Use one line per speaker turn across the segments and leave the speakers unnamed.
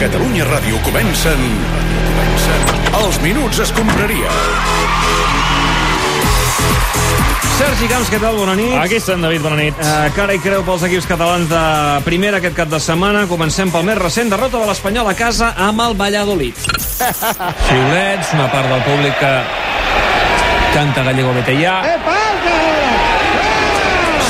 Catalunya Ràdio comencen... comencen... Els Minuts es compraria.
Sergi Camps, què tal? Bona nit.
Aquí estem, David, bona nit.
Eh, cara i creu pels equips catalans de primera aquest cap de setmana. Comencem pel més recent, derrota de l'Espanyol a casa amb el Valladolid.
Xiulets, una part del públic que canta Gallego Betellà.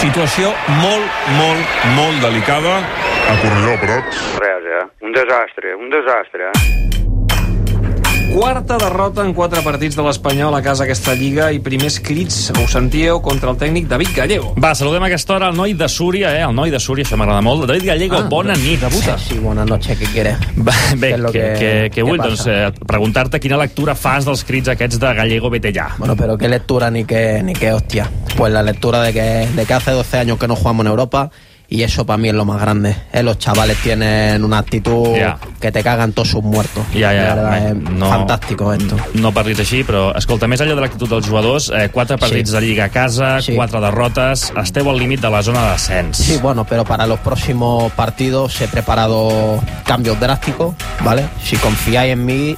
Situació molt, molt, molt delicada.
A Cornellà, Prats.
Res, eh? Un desastre, un desastre. eh?
Quarta derrota en quatre partits de l'Espanyol a casa aquesta lliga i primers crits, ho sentíeu, contra el tècnic David Gallego.
Va, saludem a aquesta hora el noi de Súria, eh? El noi de Súria, això m'agrada molt. David Gallego, ah, bona nit. Debuta.
Sí, buenas noches, ¿qué quieres?
Va, bé,
doncs, Què és lo
que, que,
que-
que, que
què
vull,
passa?
doncs, eh, preguntar-te quina lectura fas dels crits aquests de Gallego Betellà.
Bueno, pero qué lectura ni qué, ni qué hostia. Pues la lectura de que, de que hace 12 años que no jugamos en Europa y eso para mí es lo más grande. Eh, los chavales tienen una actitud
Ya.
que te cagan todos sus muertos.
Ja,
La
ja,
verdad,
eh,
es fantástico esto.
No parlis així, però, escolta, més enllà de l'actitud dels jugadors, eh, quatre partits
Sí.
de Lliga a casa,
Sí.
quatre derrotes, esteu al límit de la zona d'ascens.
Sí, bueno, pero para los próximos partidos he preparado cambios drásticos, ¿vale? Si confiáis en mí,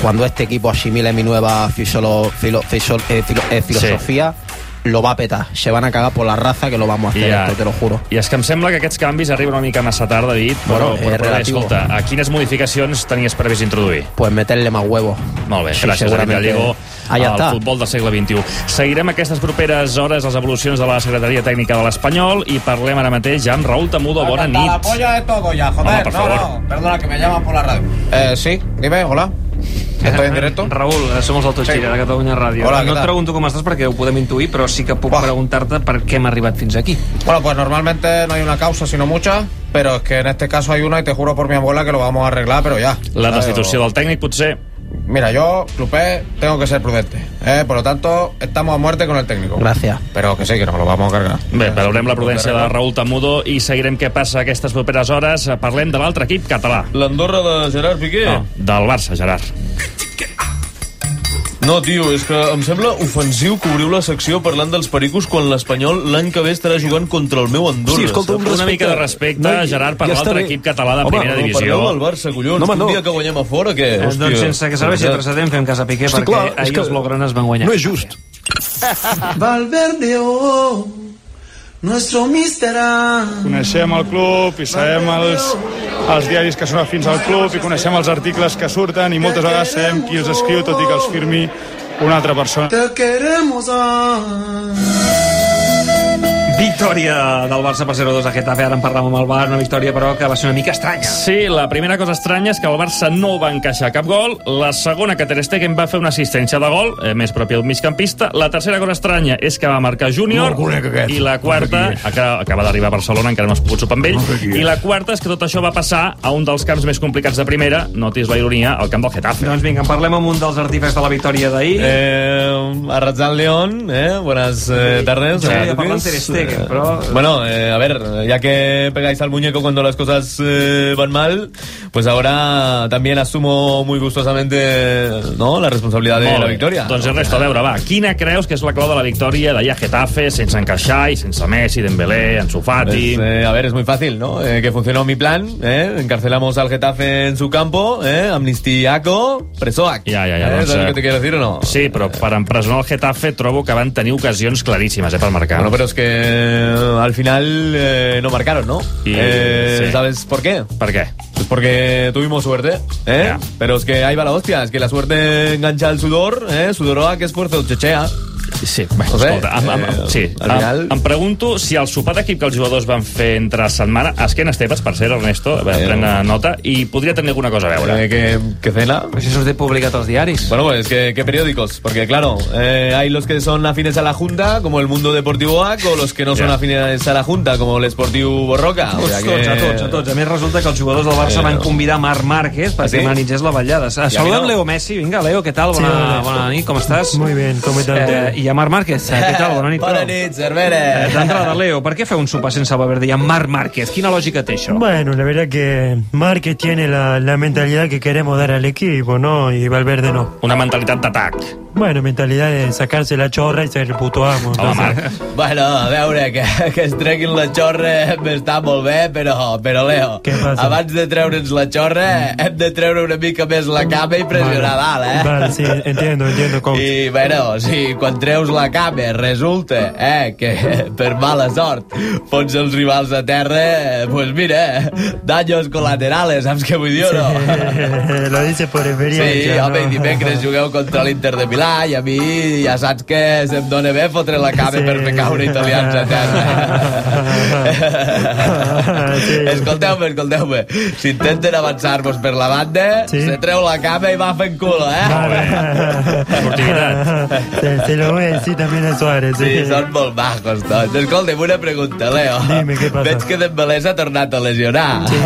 cuando este equipo asimile mi nueva fisolo- filo- fisol- eh, filo- eh, filosofía, lo va a petar. Se van a cagar por la raza que lo vamos a hacer,
Ja.
esto, te lo juro.
I és que em sembla que aquests canvis arriben una mica massa tard, David, però,
Bueno, eh,
però, però bé,
relativo.
escolta, a quines modificacions tenies previst introduir?
Pues meterle más huevos.
Molt bé,
Sí,
gràcies, David
seguramente.
Gallego,
Ahí
al
está.
futbol del segle XXI. Seguirem aquestes properes hores les evolucions de la Secretaria Tècnica de l'Espanyol i parlem ara mateix ja amb Raül Tamudo. Bona nit.
de todo ya,
Hola, por favor.
Perdona, que me llaman por la radio. Eh, sí, dime, hola. ¿Estoy en directo?
Raül, eh, som els del Tot
Sí.
Gira de Catalunya Ràdio.
Hola, què
no et
tal?
pregunto com estàs perquè ho podem intuir, però sí que puc
Buah.
preguntar-te per què hem arribat fins aquí.
Bueno, pues normalmente no hay una causa, sino muchas, pero es que en este caso hay una y te juro por mi abuela que lo vamos a arreglar, pero ya.
La
¿sabes?
destitució del tècnic, potser.
Mira, yo, Clupé, tengo que ser prudente. ¿eh? Por lo tanto, estamos a muerte con el técnico.
Gracias.
Pero que sí, que nos lo vamos a cargar.
Bé, veurem la prudència de Raül Tamudo i seguirem què passa aquestes properes hores. Parlem de l'altre equip català.
L'Andorra de Gerard Piqué?
No, del Barça, Gerard.
No, tio, és que em sembla ofensiu que obriu la secció parlant dels pericos quan l'Espanyol l'any que ve estarà jugant contra el meu Andorra.
Sí, escolta,
saps?
un
Una
respecte.
mica de respecte, Gerard, per
està
l'altre
bé.
equip català de
Home,
primera
no,
divisió.
Parleu del Barça, collons,
No, home,
un
no.
dia que guanyem a fora, què?
Eh,
Hòstia.
doncs sense que serveixi
Veritat.
precedent fem cas a Piqué
Hosti,
perquè
clar, és
ahir
que
els Blaugranes van guanyar.
No és just.
Valverde, oh, nuestro misterá.
Coneixem el club i sabem els, els diaris que són afins al club i coneixem els articles que surten i moltes vegades sabem qui els escriu, tot i que els firmi una altra persona.
Te queremos, ah.
Victòria del Barça per 0-2 a Getafe, ara en parlàvem amb el Bar, una victòria però que va ser una mica estranya.
Sí, la primera cosa estranya és que el Barça no va encaixar cap gol, la segona que Ter Stegen va fer una assistència de gol, eh, més propi al migcampista, la tercera cosa estranya és que va marcar Júnior,
No el conec, aquest.
i la quarta, acaba, acaba d'arribar a Barcelona, encara no has pogut sopar amb ell,
sé qui és.
i la quarta és que tot això va passar a un dels camps més complicats de primera, notis la ironia, al camp del Getafe.
Doncs vinga, en parlem amb un dels artífecs de la victòria d'ahir. Eh,
Eh, a Ratzal León, eh, buenas eh, tardes.
Yo
a
quería
todos.
parlar en Ter Stegen, pero-
Bueno, eh, a ver, ya que pegáis al muñeco cuando las cosas eh, van mal, pues ahora también asumo muy gustosamente ¿no? la responsabilidad de
Molt
la
bé.
victoria.
Doncs res, a veure, va, quina creus que és la clau de la victòria d'ahir a Getafe, sense encaixar i sense Messi, Dembélé, Ansu Fati...
Pues, eh, a ver, es muy fácil, ¿no? Eh, que funcionó mi plan, ¿eh? Encarcelamos al Getafe en su campo, ¿eh? Amnistiaco, Presoac.
Ya, ya, ya,
¿Eh?
doncs,
¿Sabes
eh,
lo que te quiero decir o no?
Sí, però per empresonar el Getafe trobo que van tenir ocasions claríssimes eh, per marcar.
Bueno, pero es que eh, al final eh, no marcaron, ¿no?
Y-
Eh,
sí.
¿Sabes por qué?
Per què?
Pues porque tuvimos suerte, ¿eh?
Ya.
Pero es que ahí va la hostia, es que la suerte engancha al sudor, ¿eh? Sudoroa, que esfuerzo, chechea.
Sí, bé,
No sé,
escolta, em, em, em,
eh,
sí,
al
em,
final-
em pregunto si el sopar d'equip que els jugadors van fer entre setmana, esquena estepes, per ser Ernesto, eh,
Eh,
pren nota, i podria tenir alguna cosa a veure.
Eh, que, que cena.
Però si surt publicat als diaris.
Bueno, pues que, que periódicos, porque claro, eh, hay los que son afines a la Junta, como el Mundo Deportivo AC, o los que no son
Ya.
afines a la Junta, como el Esportiu Borroca. O sea
Tots,
que-
tots, a tots, a tots. A més, resulta que els jugadors del Barça van convidar Marc Márquez perquè
Ah, sí?
organitzés la ballada. Ah,
I a mi
Saludem
no.
Leo Messi. Vinga, Leo, què tal? Bona, bona nit, com estàs? Muy bien, com estàs? Eh, I a Marc Márquez, eh, què tal? Bona nit.
Bona
Leo.
nit,
Eh,
Cervera.
D'entrada, Leo, per què fer un sopar sense Valverde i amb Marc Márquez? Quina lògica té això?
Bueno, la verdad que Márquez tiene la, la mentalidad que queremos dar al equipo, ¿no? Y Valverde no.
Una mentalitat d'atac.
Bueno, mentalidad de sacarse la chorra i ser el puto amo. entonces.
Bueno, a veure, que, que es treguin la xorra eh, està molt bé, però, però Leo,
Què passa? Mm.
abans de treure'ns la xorra hem de treure una mica més la cama i pressionar dalt, eh?
Vale, sí, entiendo, entiendo, coach.
I, bueno, sí, quan treus la cama resulta eh, que per mala sort fots els rivals a terra, eh, pues mira, daños colaterales, saps què vull dir o no?
Lo dice por
Sí,
experiencia. ¿no?
home, i dimecres jugueu contra l'Inter de Milà i a mi ja saps que se'm dóna bé fotre la cama sí. per fer caure italians a terra. escolteu-me, escolteu-me. Si intenten avançar-vos per la banda, sí. se treu la cama i va fent culo, eh?
Se, se lo voy a decir también a Suárez.
Sí,
sí.
són molt majos tots. Escolta'm, una pregunta, Leo.
Dime, què passa?
Veig que Dembélé s'ha tornat a lesionar. Sí,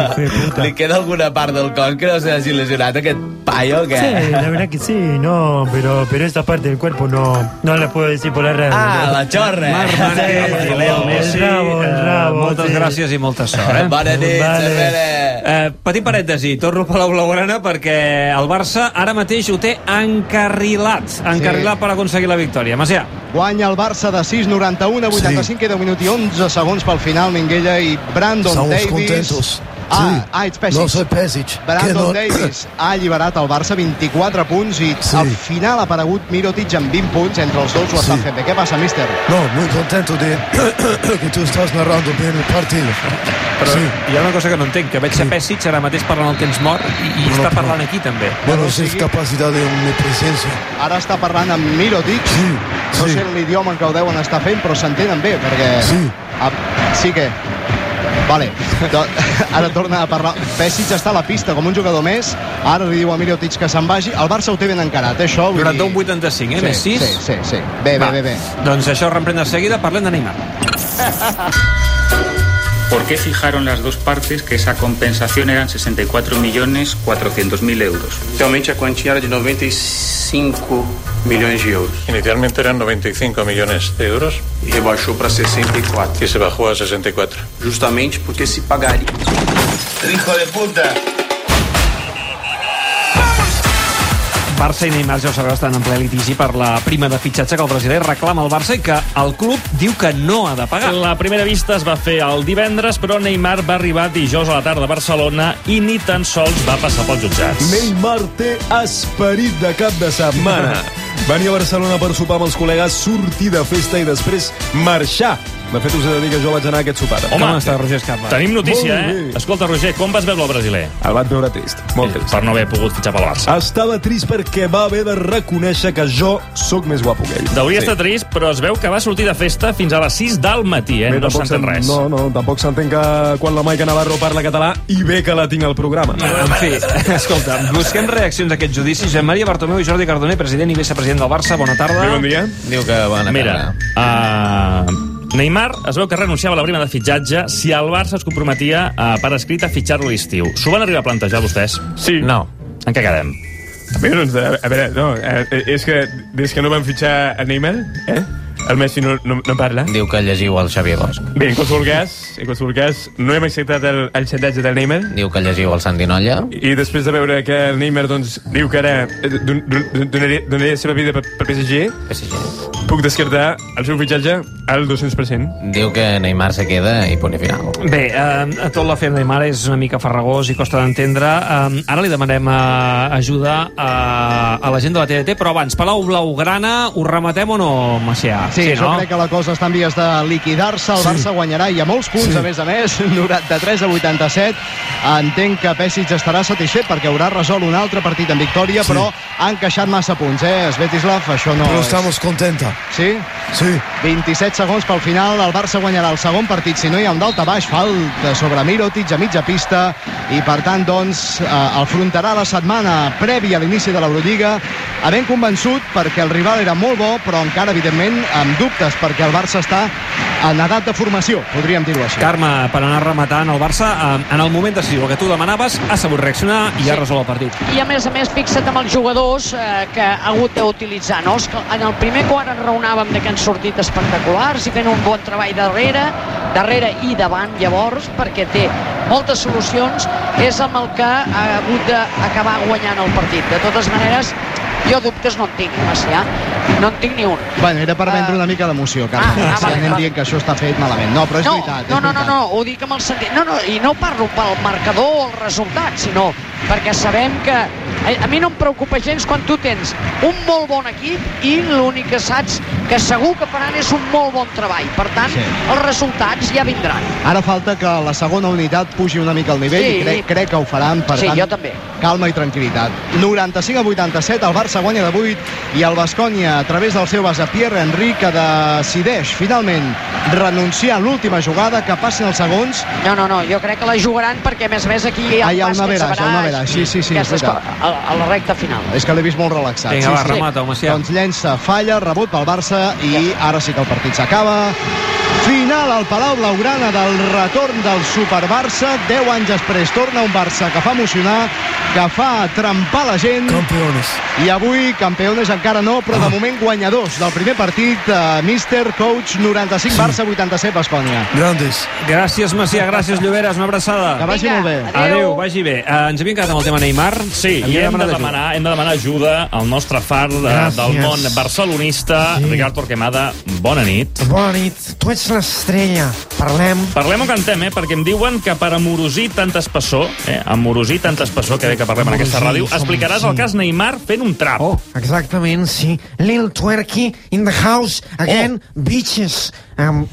Li queda alguna part del cos que no s'hagi lesionat aquest paio, o què?
Sí, la verdad que sí, no, pero, pero esa parte del cuerpo no, no la puedo decir por la radio.
Ah, la xorra.
Marc Manel, Sí, sí, Leo Messi, el rabo, el rabo, eh, moltes sí. gràcies
i molta sort.
Eh? Bona nit, vale.
Eh, petit parèntesi, torno a Palau Blaugrana perquè el Barça ara mateix ho té encarrilat, encarrilat sí. per aconseguir la victòria. Macià.
Guanya el Barça de 6'91 a 85, sí. queda un minut i 11 segons pel final Minguella i Brandon
Estamos
Davis.
contentos.
Ah,
Sí.
ah, ets Pesic.
No, soy Pesic.
Brandon
Que no-
Davis ha alliberat el Barça 24 punts i
Sí.
al final ha aparegut Mirotic amb 20 punts entre els dos ho estan fent bé. Què passa, míster?
No, muy contento de que tú estás narrando bien el partido.
Però
Sí.
sí. hi ha una cosa que no entenc, que veig a Pessic ara mateix parlant el temps mort i, i està parlant aquí també.
Bueno, sí, es capacidad de omnipresencia.
Ara està parlant amb Mirotic. Sí, No sé l'idioma en què ho deuen estar fent, però s'entenen bé, perquè... Sí. Ah, sí que... Vale, Do- ara torna a parlar. Pesic està a la pista com un jugador més, ara li diu a Mirotic que se'n vagi. El Barça ho té ben encarat, eh, això. vull
Durant un
dir-
85, eh? Més
Sí,
6.
sí, sí, sí. Bé, bé, bé, bé.
Doncs això reprèn de seguida, parlem de Neymar.
oh.
¿Por qué fijaron las dos partes que esa compensación eran 64.400.000 euros?
Realmente a cuantía era de 95 millones de euros. Inicialmente eran 95 millones de euros. Y rebajó para 64. Y se bajó a 64. Justamente porque se pagaría.
Hijo de puta.
Barça i Neymar ja ho sabeu estan en ple litigi per la prima de fitxatge que el brasiler reclama al Barça i que el club diu que no ha de pagar.
La primera vista es va fer el divendres, però Neymar va arribar dijous a la tarda a Barcelona i ni tan sols va passar pels jutjats.
Neymar té esperit de cap de setmana. Venir a Barcelona per sopar amb els col·legues, sortir de festa i després marxar. De fet, us he de dir que jo vaig anar a aquest sopar.
Home, Com està Roger Escapa? tenim notícia, eh? Escolta, Roger, com vas veure el brasiler? Eh,
El vaig veure trist, molt trist.
Per no haver pogut fitxar pel Barça.
Estava trist perquè va haver de reconèixer que jo sóc més guapo que ell.
Deuria sí. estar trist, però es veu que va sortir de festa fins a les 6 del matí, eh?
Bé,
no
tampoc
s'entén
s'en-
res.
No, no, tampoc s'entén que quan la Maica Navarro parla català i bé que la tinc al programa.
En fi, escolta, busquem reaccions a aquest judici. Josep Maria Bartomeu i Jordi Cardoner, president i vicepresident del Barça, bona tarda.
Bé, bon dia.
Diu que bona
Mira, uh, Neymar es veu que renunciava a la prima de fitxatge si el Barça es comprometia uh, per escrit a fitxar-lo a l'estiu. S'ho van arribar a plantejar vostès?
Sí.
No. En què quedem?
A veure, doncs, a, a veure, no, eh, és que des que no vam fitxar a Neymar, eh? El Messi no, no, no parla.
Diu que llegiu el Xavier Bosch.
Bé, en qualsevol cas, en qualsevol cas no hem acceptat el, el xantatge del Neymar.
Diu que llegiu el Santi Nolla.
I després de veure que el Neymar doncs, diu que ara eh, don- don- donaria, donaria la seva vida per, per PSG,
PSG,
puc descartar el seu fitxatge al 200%.
Diu que Neymar se queda i punt i final.
Bé, eh, tot l'afer de Neymar és una mica farragós i costa d'entendre. Eh, ara li demanem eh, ajuda a, a la gent de la TDT, però abans, Palau Blaugrana, ho rematem o no, Macià?
Sí, sí jo crec que la cosa està en vies de liquidar-se. El Barça guanyarà i a molts punts, sí. a més a més, 93 a 87. Entenc que Pesic estarà satisfet perquè haurà resolt un altre partit en victòria, sí. però ha encaixat massa punts, eh? Svetislav, això no
Pero
és...
estamos contentos.
Sí?
Sí.
27 segons pel final, el Barça guanyarà el segon partit. Si no hi ha un d'alta baix, falta sobre Mirotic a mitja pista i, per tant, doncs, eh, el frontarà la setmana prèvia a l'inici de l'Eurolliga, havent convençut perquè el rival era molt bo, però encara, evidentment, amb dubtes, perquè el Barça està en edat de formació, podríem dir-ho així.
Carme, per anar rematant el Barça, eh, en el moment decisiu, el que tu demanaves, ha sabut reaccionar i ha resolt el partit.
I a més a més fixa't amb els jugadors eh, que ha hagut d'utilitzar. No? És que En el primer quart ens raonàvem de que han sortit espectaculars i fent un bon treball darrere, darrere i davant llavors, perquè té moltes solucions, és amb el que ha hagut d'acabar guanyant el partit. De totes maneres, Jo dubtes no en tinc, Macià. No en tinc ni un.
Bueno, era per vendre una mica d'emoció, Carles.
ah,
Ah,
vale,
anem
vale.
dient que això està fet malament. No, però és
no,
veritat.
no,
és
no, no,
veritat.
no, ho dic amb el sentit... No, no, i no parlo pel marcador o el resultat, sinó perquè sabem que... eh, A, a mi no em preocupa gens quan tu tens un molt bon equip i l'únic que saps que segur que faran és un molt bon treball. Per tant,
Sí.
sí. els resultats ja vindran.
Ara falta que la segona unitat pugi una mica el nivell
Sí.
i crec, crec que ho faran. Per
Sí,
tant,
jo també.
Calma i tranquil·litat. 95 a 87, el Barça guanya de 8 i el Bascònia, a través del seu base Pierre-Henri, que decideix finalment renunciar a l'última jugada, que passin els segons.
No, no, no, jo crec que la jugaran perquè, a més a més, aquí... el
Ah, hi ha un
bàsquet
average, hi ha un
sabrà
average. Sí, sí, sí, és
Aquestes
veritat.
coses, a, a la recta final.
És que l'he vist molt relaxat.
Vinga, va, remata, home, sí.
Doncs llença, falla, rebot pel Barça i ara sí que el partit s'acaba. Final al Palau Blaugrana del retorn del Super Barça. 10 anys després torna un Barça que fa emocionar, que fa trempar la gent. Campeones. I avui, campeones encara no, però de moment guanyadors del primer partit. Eh, Mister, coach, 95 Barça, 87 Bascònia.
Grandes. Gràcies, Macià, gràcies, Lloberes, una abraçada.
Que vagi molt bé.
Adéu, vagi bé. Eh, ens havíem quedat amb el tema Neymar.
Sí, i
Havíem
hem de,
demanat ajuda.
demanar, hem de demanar ajuda al nostre far de,
Gràcies.
del món barcelonista, Ricard Torquemada. Bona nit.
Bona nit. Tu ets l'estrella. Parlem.
Parlem o cantem, eh? Perquè em diuen que per amorosir tant espessor, eh? amorosir tant espessor, que bé que parlem en aquesta
Amorosir,
ràdio,
som-
explicaràs el
sí.
cas Neymar fent un trap. Oh.
Exactament, sí. Lil Twerky in the house again, bitches. Um,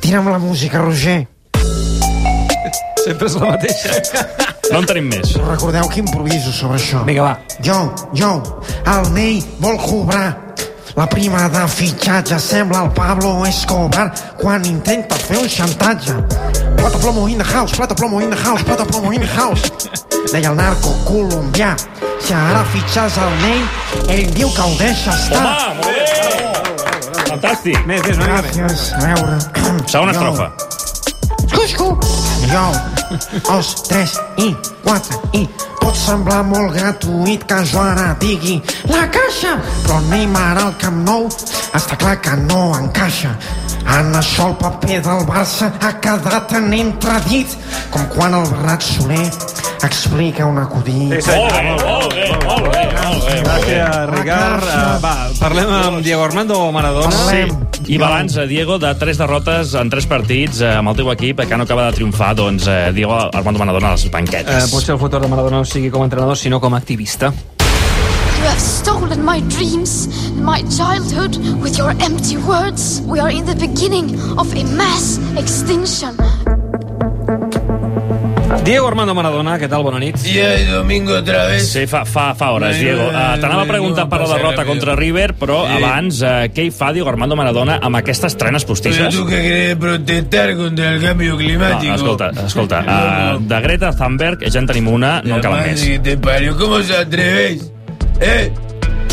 tira'm la música, Roger.
Sempre és la mateixa.
No en tenim més.
Recordeu que improviso sobre això.
Vinga, va.
Jo, jo, el Ney vol cobrar. La prima de fitxatge sembla el Pablo Escobar quan intenta fer un xantatge. Plata plomo in the house, plata plomo in the house, plata plomo in the house. Deia el narco colombià. Si ara fitxes el Ney, ell diu que ho deixa estar.
Home, molt bé! Fantàstic. Més, més,
Gràcies, a veure.
Segona
Jo.
estrofa.
Cusco. Jo, dos, tres i quatre i pot semblar molt gratuït que jo ara digui la caixa, però Neymar al Camp Nou està clar que no encaixa. En això el paper del Barça ha quedat en entredit, com quan el Bernat Soler explica un acudit.
Molt bé, molt bé, molt bé.
Gràcies, Ricard. Eh, va, parlem amb Diego Armando Maradona.
I balanç, eh, Diego, de tres derrotes en tres partits eh, amb el teu equip eh, que no acaba de triomfar, doncs, eh, Diego Armando Maradona a les
Eh,
banquetes.
potser el futur de Maradona no sigui com a entrenador, sinó com a activista.
You have stolen my dreams and my childhood with your empty words. We are in the beginning of a mass extinction.
Diego Armando Maradona, què tal? Bona nit.
I el domingo otra vez.
Sí, fa, fa, fa hores,
Ai,
Diego.
ai,
Uh, T'anava a
ai,
preguntar
no,
per la
passa
derrota
ràpid.
contra River, però
Sí.
abans, eh, què hi fa Diego Armando Maradona amb aquestes trenes
Pero
postisses?
tú que querés protestar contra el cambio climático.
No, escolta, escolta, uh, de Greta Thunberg ja en tenim una, no en cal
Madre
més.
que te parió, ¿cómo os atrevéis? ¿Eh?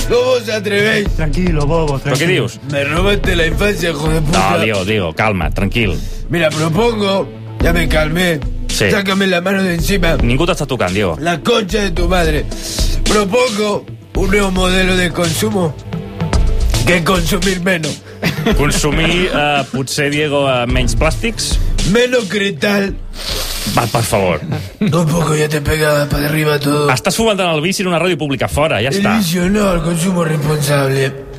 ¿Cómo os atrevéis?
Tranquilo, bobo,
Però què
tranquilo.
dius?
Me robaste la infancia, hijo de
No,
puta.
Diego, Diego, calma, tranquil.
Mira, propongo. Ya me calmé.
Sí.
Sácame la mano de encima.
Ningú t'està tocant, Diego.
La concha de tu madre. Propongo un nuevo modelo de consumo. Que es consumir menos.
Consumir, eh, potser, Diego, eh, menys plàstics?
Menos cristal.
Va, per favor.
Un poco ya te pega para arriba todo.
Estàs fomentant el bici en una ràdio pública fora, ja
El
està.
vicio no, el consumo responsable.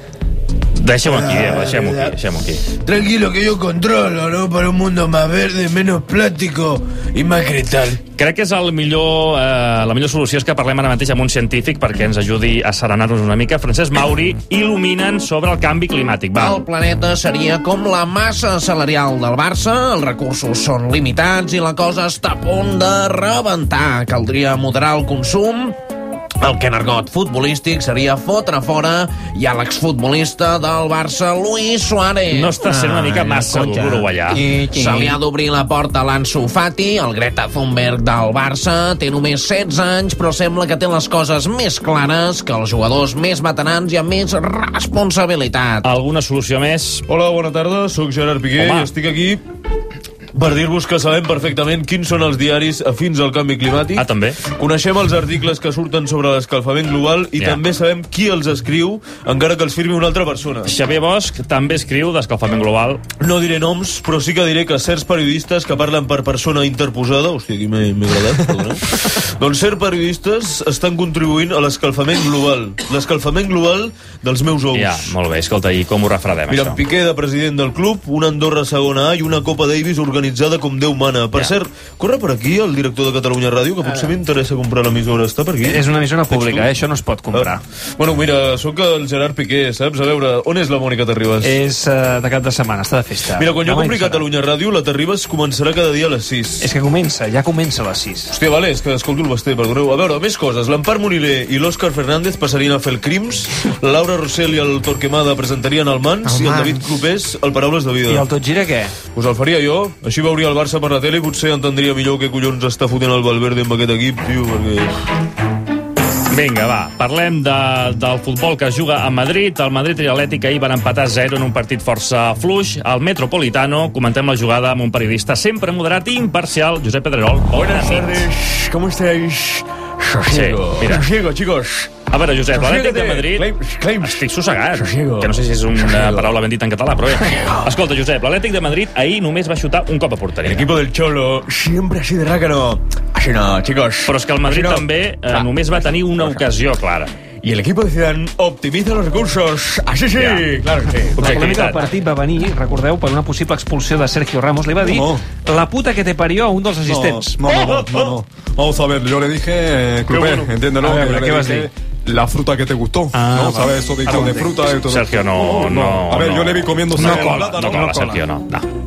Deixem-ho aquí,
Ah,
Diego, deixem-ho aquí, deixem aquí.
Tranquilo que yo controlo, ¿no? Para un mundo más verde, menos plástico y más cristal.
Crec que és el millor, eh, la millor solució és que parlem ara mateix amb un científic perquè ens ajudi a serenar-nos una mica. Francesc Mauri, il·luminen sobre el canvi climàtic. Va.
El planeta seria com la massa salarial del Barça, els recursos són limitats i la cosa està a punt de rebentar. Caldria moderar el consum, el que en argot futbolístic seria fotre fora i a l'exfutbolista del Barça, Luis Suárez.
No està sent una mica massa dur, l'uruguaià.
Se li ha d'obrir la porta a l'Ansu Fati, el Greta Thunberg del Barça, té només 16 anys, però sembla que té les coses més clares que els jugadors més veterans i amb més responsabilitat.
Alguna solució més?
Hola, bona tarda, sóc Gerard Piqué
Home.
i estic aquí per dir-vos que sabem perfectament quins són els diaris afins al canvi climàtic. Ah, també. Coneixem els articles que surten sobre l'escalfament global i
Ja.
també sabem qui els escriu, encara que els firmi una altra persona.
Xavier Bosch també escriu d'escalfament global.
No diré noms, però sí que diré que certs periodistes que parlen per persona interposada... Hòstia, aquí m'he m'he agradat, perdona. doncs certs periodistes estan contribuint a l'escalfament global. L'escalfament global dels meus ous.
Ja, molt bé, escolta, i com ho refredem,
Mira,
això?
Piqué de president del club, una Andorra segona A i una Copa Davis organitzada com Déu mana. Per cert, corre per aquí el director de Catalunya Ràdio, que potser m'interessa comprar l'emissora. Està per aquí?
És una emissora
Tens
pública,
tu?
eh? això no es pot comprar.
Ah. Bueno, mira, sóc el Gerard Piqué, saps? A veure, on és la Mònica Terribas?
És eh, de cap de setmana, està de festa.
Mira, quan jo
Demà hi
compri
serà.
Catalunya Ràdio, la Terribas començarà cada dia a les 6.
És que comença, ja comença a les 6.
Hòstia, vale, és que escolto el Basté, perdoneu. A veure, més coses. L'Empar Moniler i l'Òscar Fernández passarien a fer el Crims, la Laura Rossell i el Torquemada presentarien el Mans
El
i el
Mans.
David Clopés el Paraules de Vida.
I el tot gira què?
Us el faria jo. Així veuria el Barça per la tele i potser entendria millor què collons està fotent el Valverde amb aquest equip, tio, perquè...
Vinga, va, parlem de, del futbol que es juga a Madrid. El Madrid i l'Atlètic ahir van empatar 0 en un partit força fluix. Al Metropolitano comentem la jugada amb un periodista sempre moderat i imparcial, Josep Pedrerol. Bona
tardes, ¿cómo estáis? Sosiego.
Sí, mira.
Sosiego, chicos.
A veure, Josep, l'Atlètic de
Sossiégate.
Madrid...
Claims, claims.
Estic sossegat,
Sosiego.
que no sé si és una
Sosiego.
paraula ben dita en català, però bé. Escolta, Josep, l'Atlètic de Madrid ahir només va xutar un cop a porteria.
L'equipo del Cholo siempre así de rácano. Así no, chicos.
Però és que el Madrid
Así no.
també eh, només va tenir una ocasió clara.
Y el equipo de Zidane optimiza los recursos. Así sí,
Ja.
claro que sí.
La polèmica del partit va venir, recordeu, per una possible expulsió de Sergio Ramos. Li va dir
No.
la puta que te parió a un dels assistents.
No, no, no, no, no. Vamos a ver, yo le dije, eh, Clupé,
bueno.
entiéndelo.
A ver,
que yo
¿qué
le
vas a
dije La fruta que te gustó. no,
vale.
¿sabes? Eso de,
Ah,
de
vale.
fruta. esto-
Sergio, no, no,
A ver,
no.
yo le vi comiendo
No
sal-
cola, no
plátano,
cola, Sergio, no. no.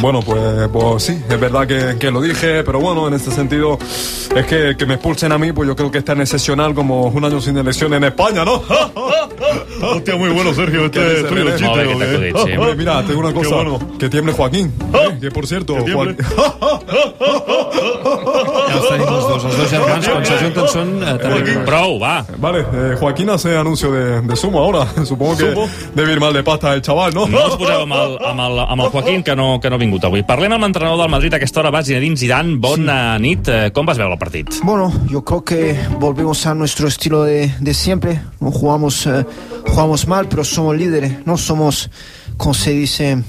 Bueno, pues, pues sí, es verdad que, que lo dije, pero bueno, en ese sentido, es que, que me expulsen a mí, pues yo creo que es tan excepcional como un año sin elección en España, ¿no?
Hòstia, muy bueno, Sergio, este
¿Qué dice, Belén?
Molt bé que t'ha acudit, sí.
Hombre, mira, tengo una
¿eh? Qué
cosa.
bueno.
Que tiemble Joaquín. eh, que por cierto, Joaquín.
Ja els tenim els dos, els dos germans, quan s'ajunten són... Eh, terribles.
Prou, va.
Vale, eh, Joaquín hace anuncio de, de sumo ahora. Supongo que
Sumo.
debe ir mal de pasta el chaval, ¿no?
No us poseu amb el, amb el, amb el Joaquín, que no, que no ha vingut avui. Parlem amb l'entrenador del Madrid a aquesta hora, va, Zinedine Zidane. Bona sí. nit. Eh, Com vas veure el partit?
Bueno, yo creo que volvemos a nuestro estilo de, de siempre. No jugamos, eh, jugamos mal, pero somos líderes. No somos, como se dice,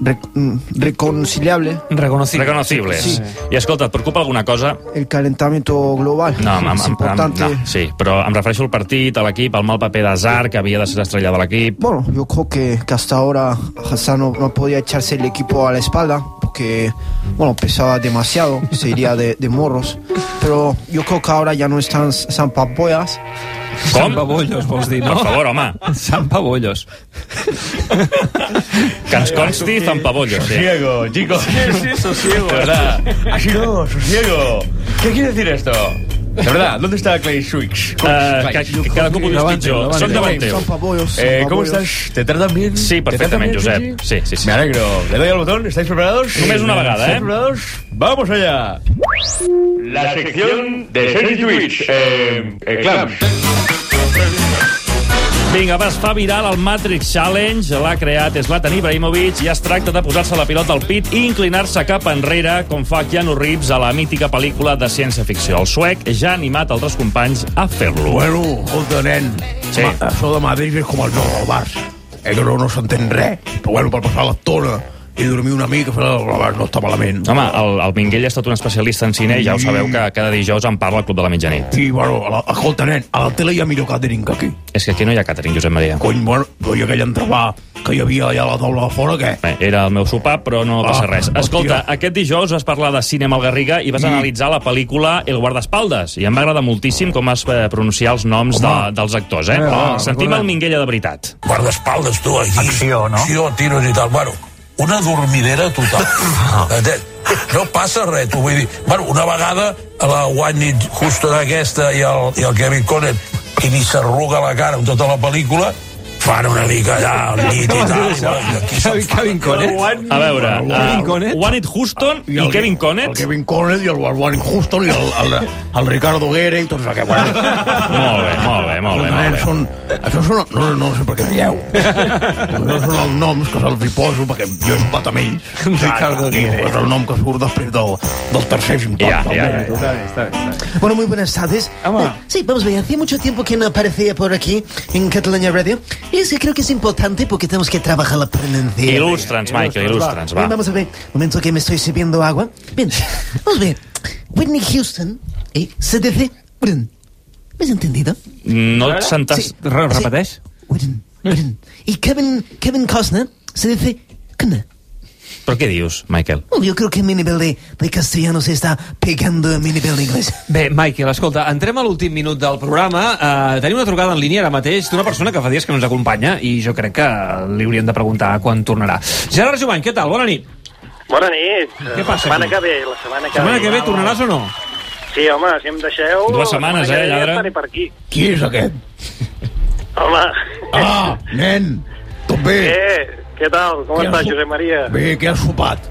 rec- mm, reconciliables.
Reconocibles.
Reconocibles.
Sí.
I escolta, et preocupa alguna cosa?
El calentamiento global
No, amb, amb, amb,
es
amb,
importante.
no, sí, però em refereixo al partit, a l'equip, al mal paper d'Azar, que havia de ser estrella de l'equip.
Bueno, yo creo que, que hasta ahora Hassan no, no podía echarse el equipo a la espalda porque, bueno, pesaba demasiado, se iría de, de morros. Pero yo creo que ahora ya no están San Papoyas.
San Pabollos, vols dir, no?
Per favor, home.
San Pabollos.
Que ens consti Zampabollos. Sí.
Sosiego, chicos.
Sí, sí, sosiego.
De verdad. Así no, sosiego. ¿Qué quiere decir esto? De verdad, ¿dónde está Clay Swix?
Eh, que, que cada cop ho dius pitjor. Soc davant teu.
Eh, ¿Cómo estás? ¿Te tratan bien?
Sí,
¿Te tratan
perfectament,
bien,
Josep. Sí, sí, sí.
Me alegro. Le doy al botón. ¿Estáis preparados?
Només una vegada,
¿Estáis
eh?
preparados? ¡Vamos allá!
La sección de Sergi Lluís. Eh, eh, clams.
Vinga, va, es fa viral el Matrix Challenge, l'ha creat Zlatan Ibrahimovic i es tracta de posar-se la pilota al pit i inclinar-se cap enrere, com fa Keanu Reeves a la mítica pel·lícula de ciència-ficció. El suec ja ha animat altres companys a fer-lo.
Bueno, escolta, nen,
Sí.
sí. això de Madrid és com el nou del Barç. Eh, que no, no s'entén res, però bueno, per passar l'estona i dormir una mica, fer el Barç no està malament.
Home, el, el Minguell ha estat un especialista en cine i ja ho sabeu que cada dijous en parla al Club de la Mitjanit.
Sí, bueno, a la, escolta, nen, a la tele hi ha millor catering que aquí.
És que aquí no hi ha catering, Josep Maria.
Cony, bueno, però i aquell entrepà que hi havia allà a la taula de fora, què?
Bé, era el meu sopar, però no passa
Ah,
res.
hòstia. Mm.
Escolta, aquest dijous vas parlar de cinema al Garriga i vas
I-
analitzar la pel·lícula El guardaespaldes. I em va agradar moltíssim com vas eh, pronunciar els noms de, dels actors, eh?
Eh,
Però
va,
sentim
recordem.
el Minguella de veritat.
Guardaespaldes, tu, aquí. Acció, no? Acció, tiros i tal. Bueno, una dormidera total. Entens? No passa res, tu vull dir. Bueno, una vegada a la Whitney Houston aquesta i el, i el Kevin Conner i li s'arruga la cara amb tota la pel·lícula fan una mica allà al nit i tal.
Kevin, Kevin Connet? A veure,
Kevin Ah,
uh, Juanit Houston i,
el-
Kevin Connet?
El Kevin Connet i el Juan Houston i el, el, el, Ricardo Guerra i tots aquests. Bueno,
molt bé, molt bé, molt bé. Molt bé.
Són,
Ah.
això són... No, no, no sé per què rieu. No són els noms que se'ls hi poso perquè jo he estat amb ells. Ricardo Guerra. És el nom que surt després del, del tercer símptoma.
Ja, ja, ja.
Bueno, muy buenas tardes. Eh, Sí, vamos a ver, hace mucho tiempo que no aparecía por aquí en Cataluña Radio. Y es que creo que es importante porque tenemos que trabajar la presencia.
Il·lustra'ns, Michael, il·lustra'ns, va.
Bien, vamos a ver, un momento que me estoy sirviendo agua. Bien, vamos a ver. Whitney Houston eh, se dice... Brun. ¿Me has entendido?
No et sentes...
Sí. Whitney,
Eh.
Whitney. Y Kevin, Kevin Costner se dice... Costner.
Però què dius, Michael?
Oh, Yo creo que mi nivel de, de castellano se está pegando a mi nivel de inglés.
Bé, Michael, escolta, entrem a l'últim minut del programa. Uh, tenim una trucada en línia ara mateix d'una persona que fa dies que no ens acompanya i jo crec que li hauríem de preguntar quan tornarà. Gerard Jovany, què tal? Bona nit.
Bona nit.
Què passa
La setmana
aquí?
que ve, la setmana
La
que
setmana
ve.
que ve tornaràs o no?
Sí, home, si em deixeu...
Dues
la
setmanes,
setmana que
eh,
ve
lladre?
Estaré per aquí.
Qui és aquest?
Home,
Ah, nen, tot bé?
eh, què tal? Com
Què
estàs,
has-
Josep Maria?
Bé, què has sopat?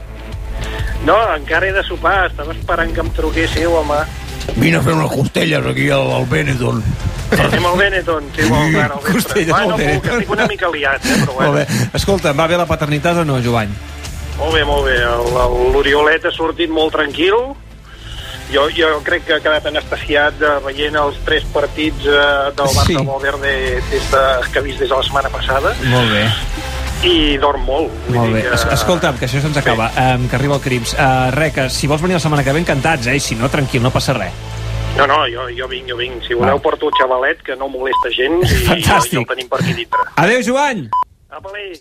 No, encara he de sopar, estava esperant que em truquéssiu, home.
Vine a fer unes costelles aquí al, al Benetton.
Anem al Benetton, si vols, ara al vespre.
Costelles
Va,
al
no puc, que
Benetton.
estic una mica liat, eh, però
Molt
bueno.
bé. Escolta, va bé la paternitat o no, Jovany?
Molt bé, molt bé. El- el- L'Oriolet ha sortit molt tranquil. Jo, jo crec que ha quedat anestesiat de, veient els tres partits eh, del Barça
Sí.
sí. Valverde des de, que ha vist des de la setmana passada
Molt bé.
i dorm molt. Vull
Molt bé.
dir que-
Es- Escolta'm, que això se'ns acaba, um, que arriba el Crims. Uh, re, que si vols venir la setmana que ve, encantats, eh? I si no, tranquil, no passa res.
No, no, jo, jo vinc, jo vinc. Si voleu,
Va.
porto el xavalet, que no molesta gens, i, i
Fantàstic.
el tenim per aquí dintre.
Adéu, Joan!
Apa,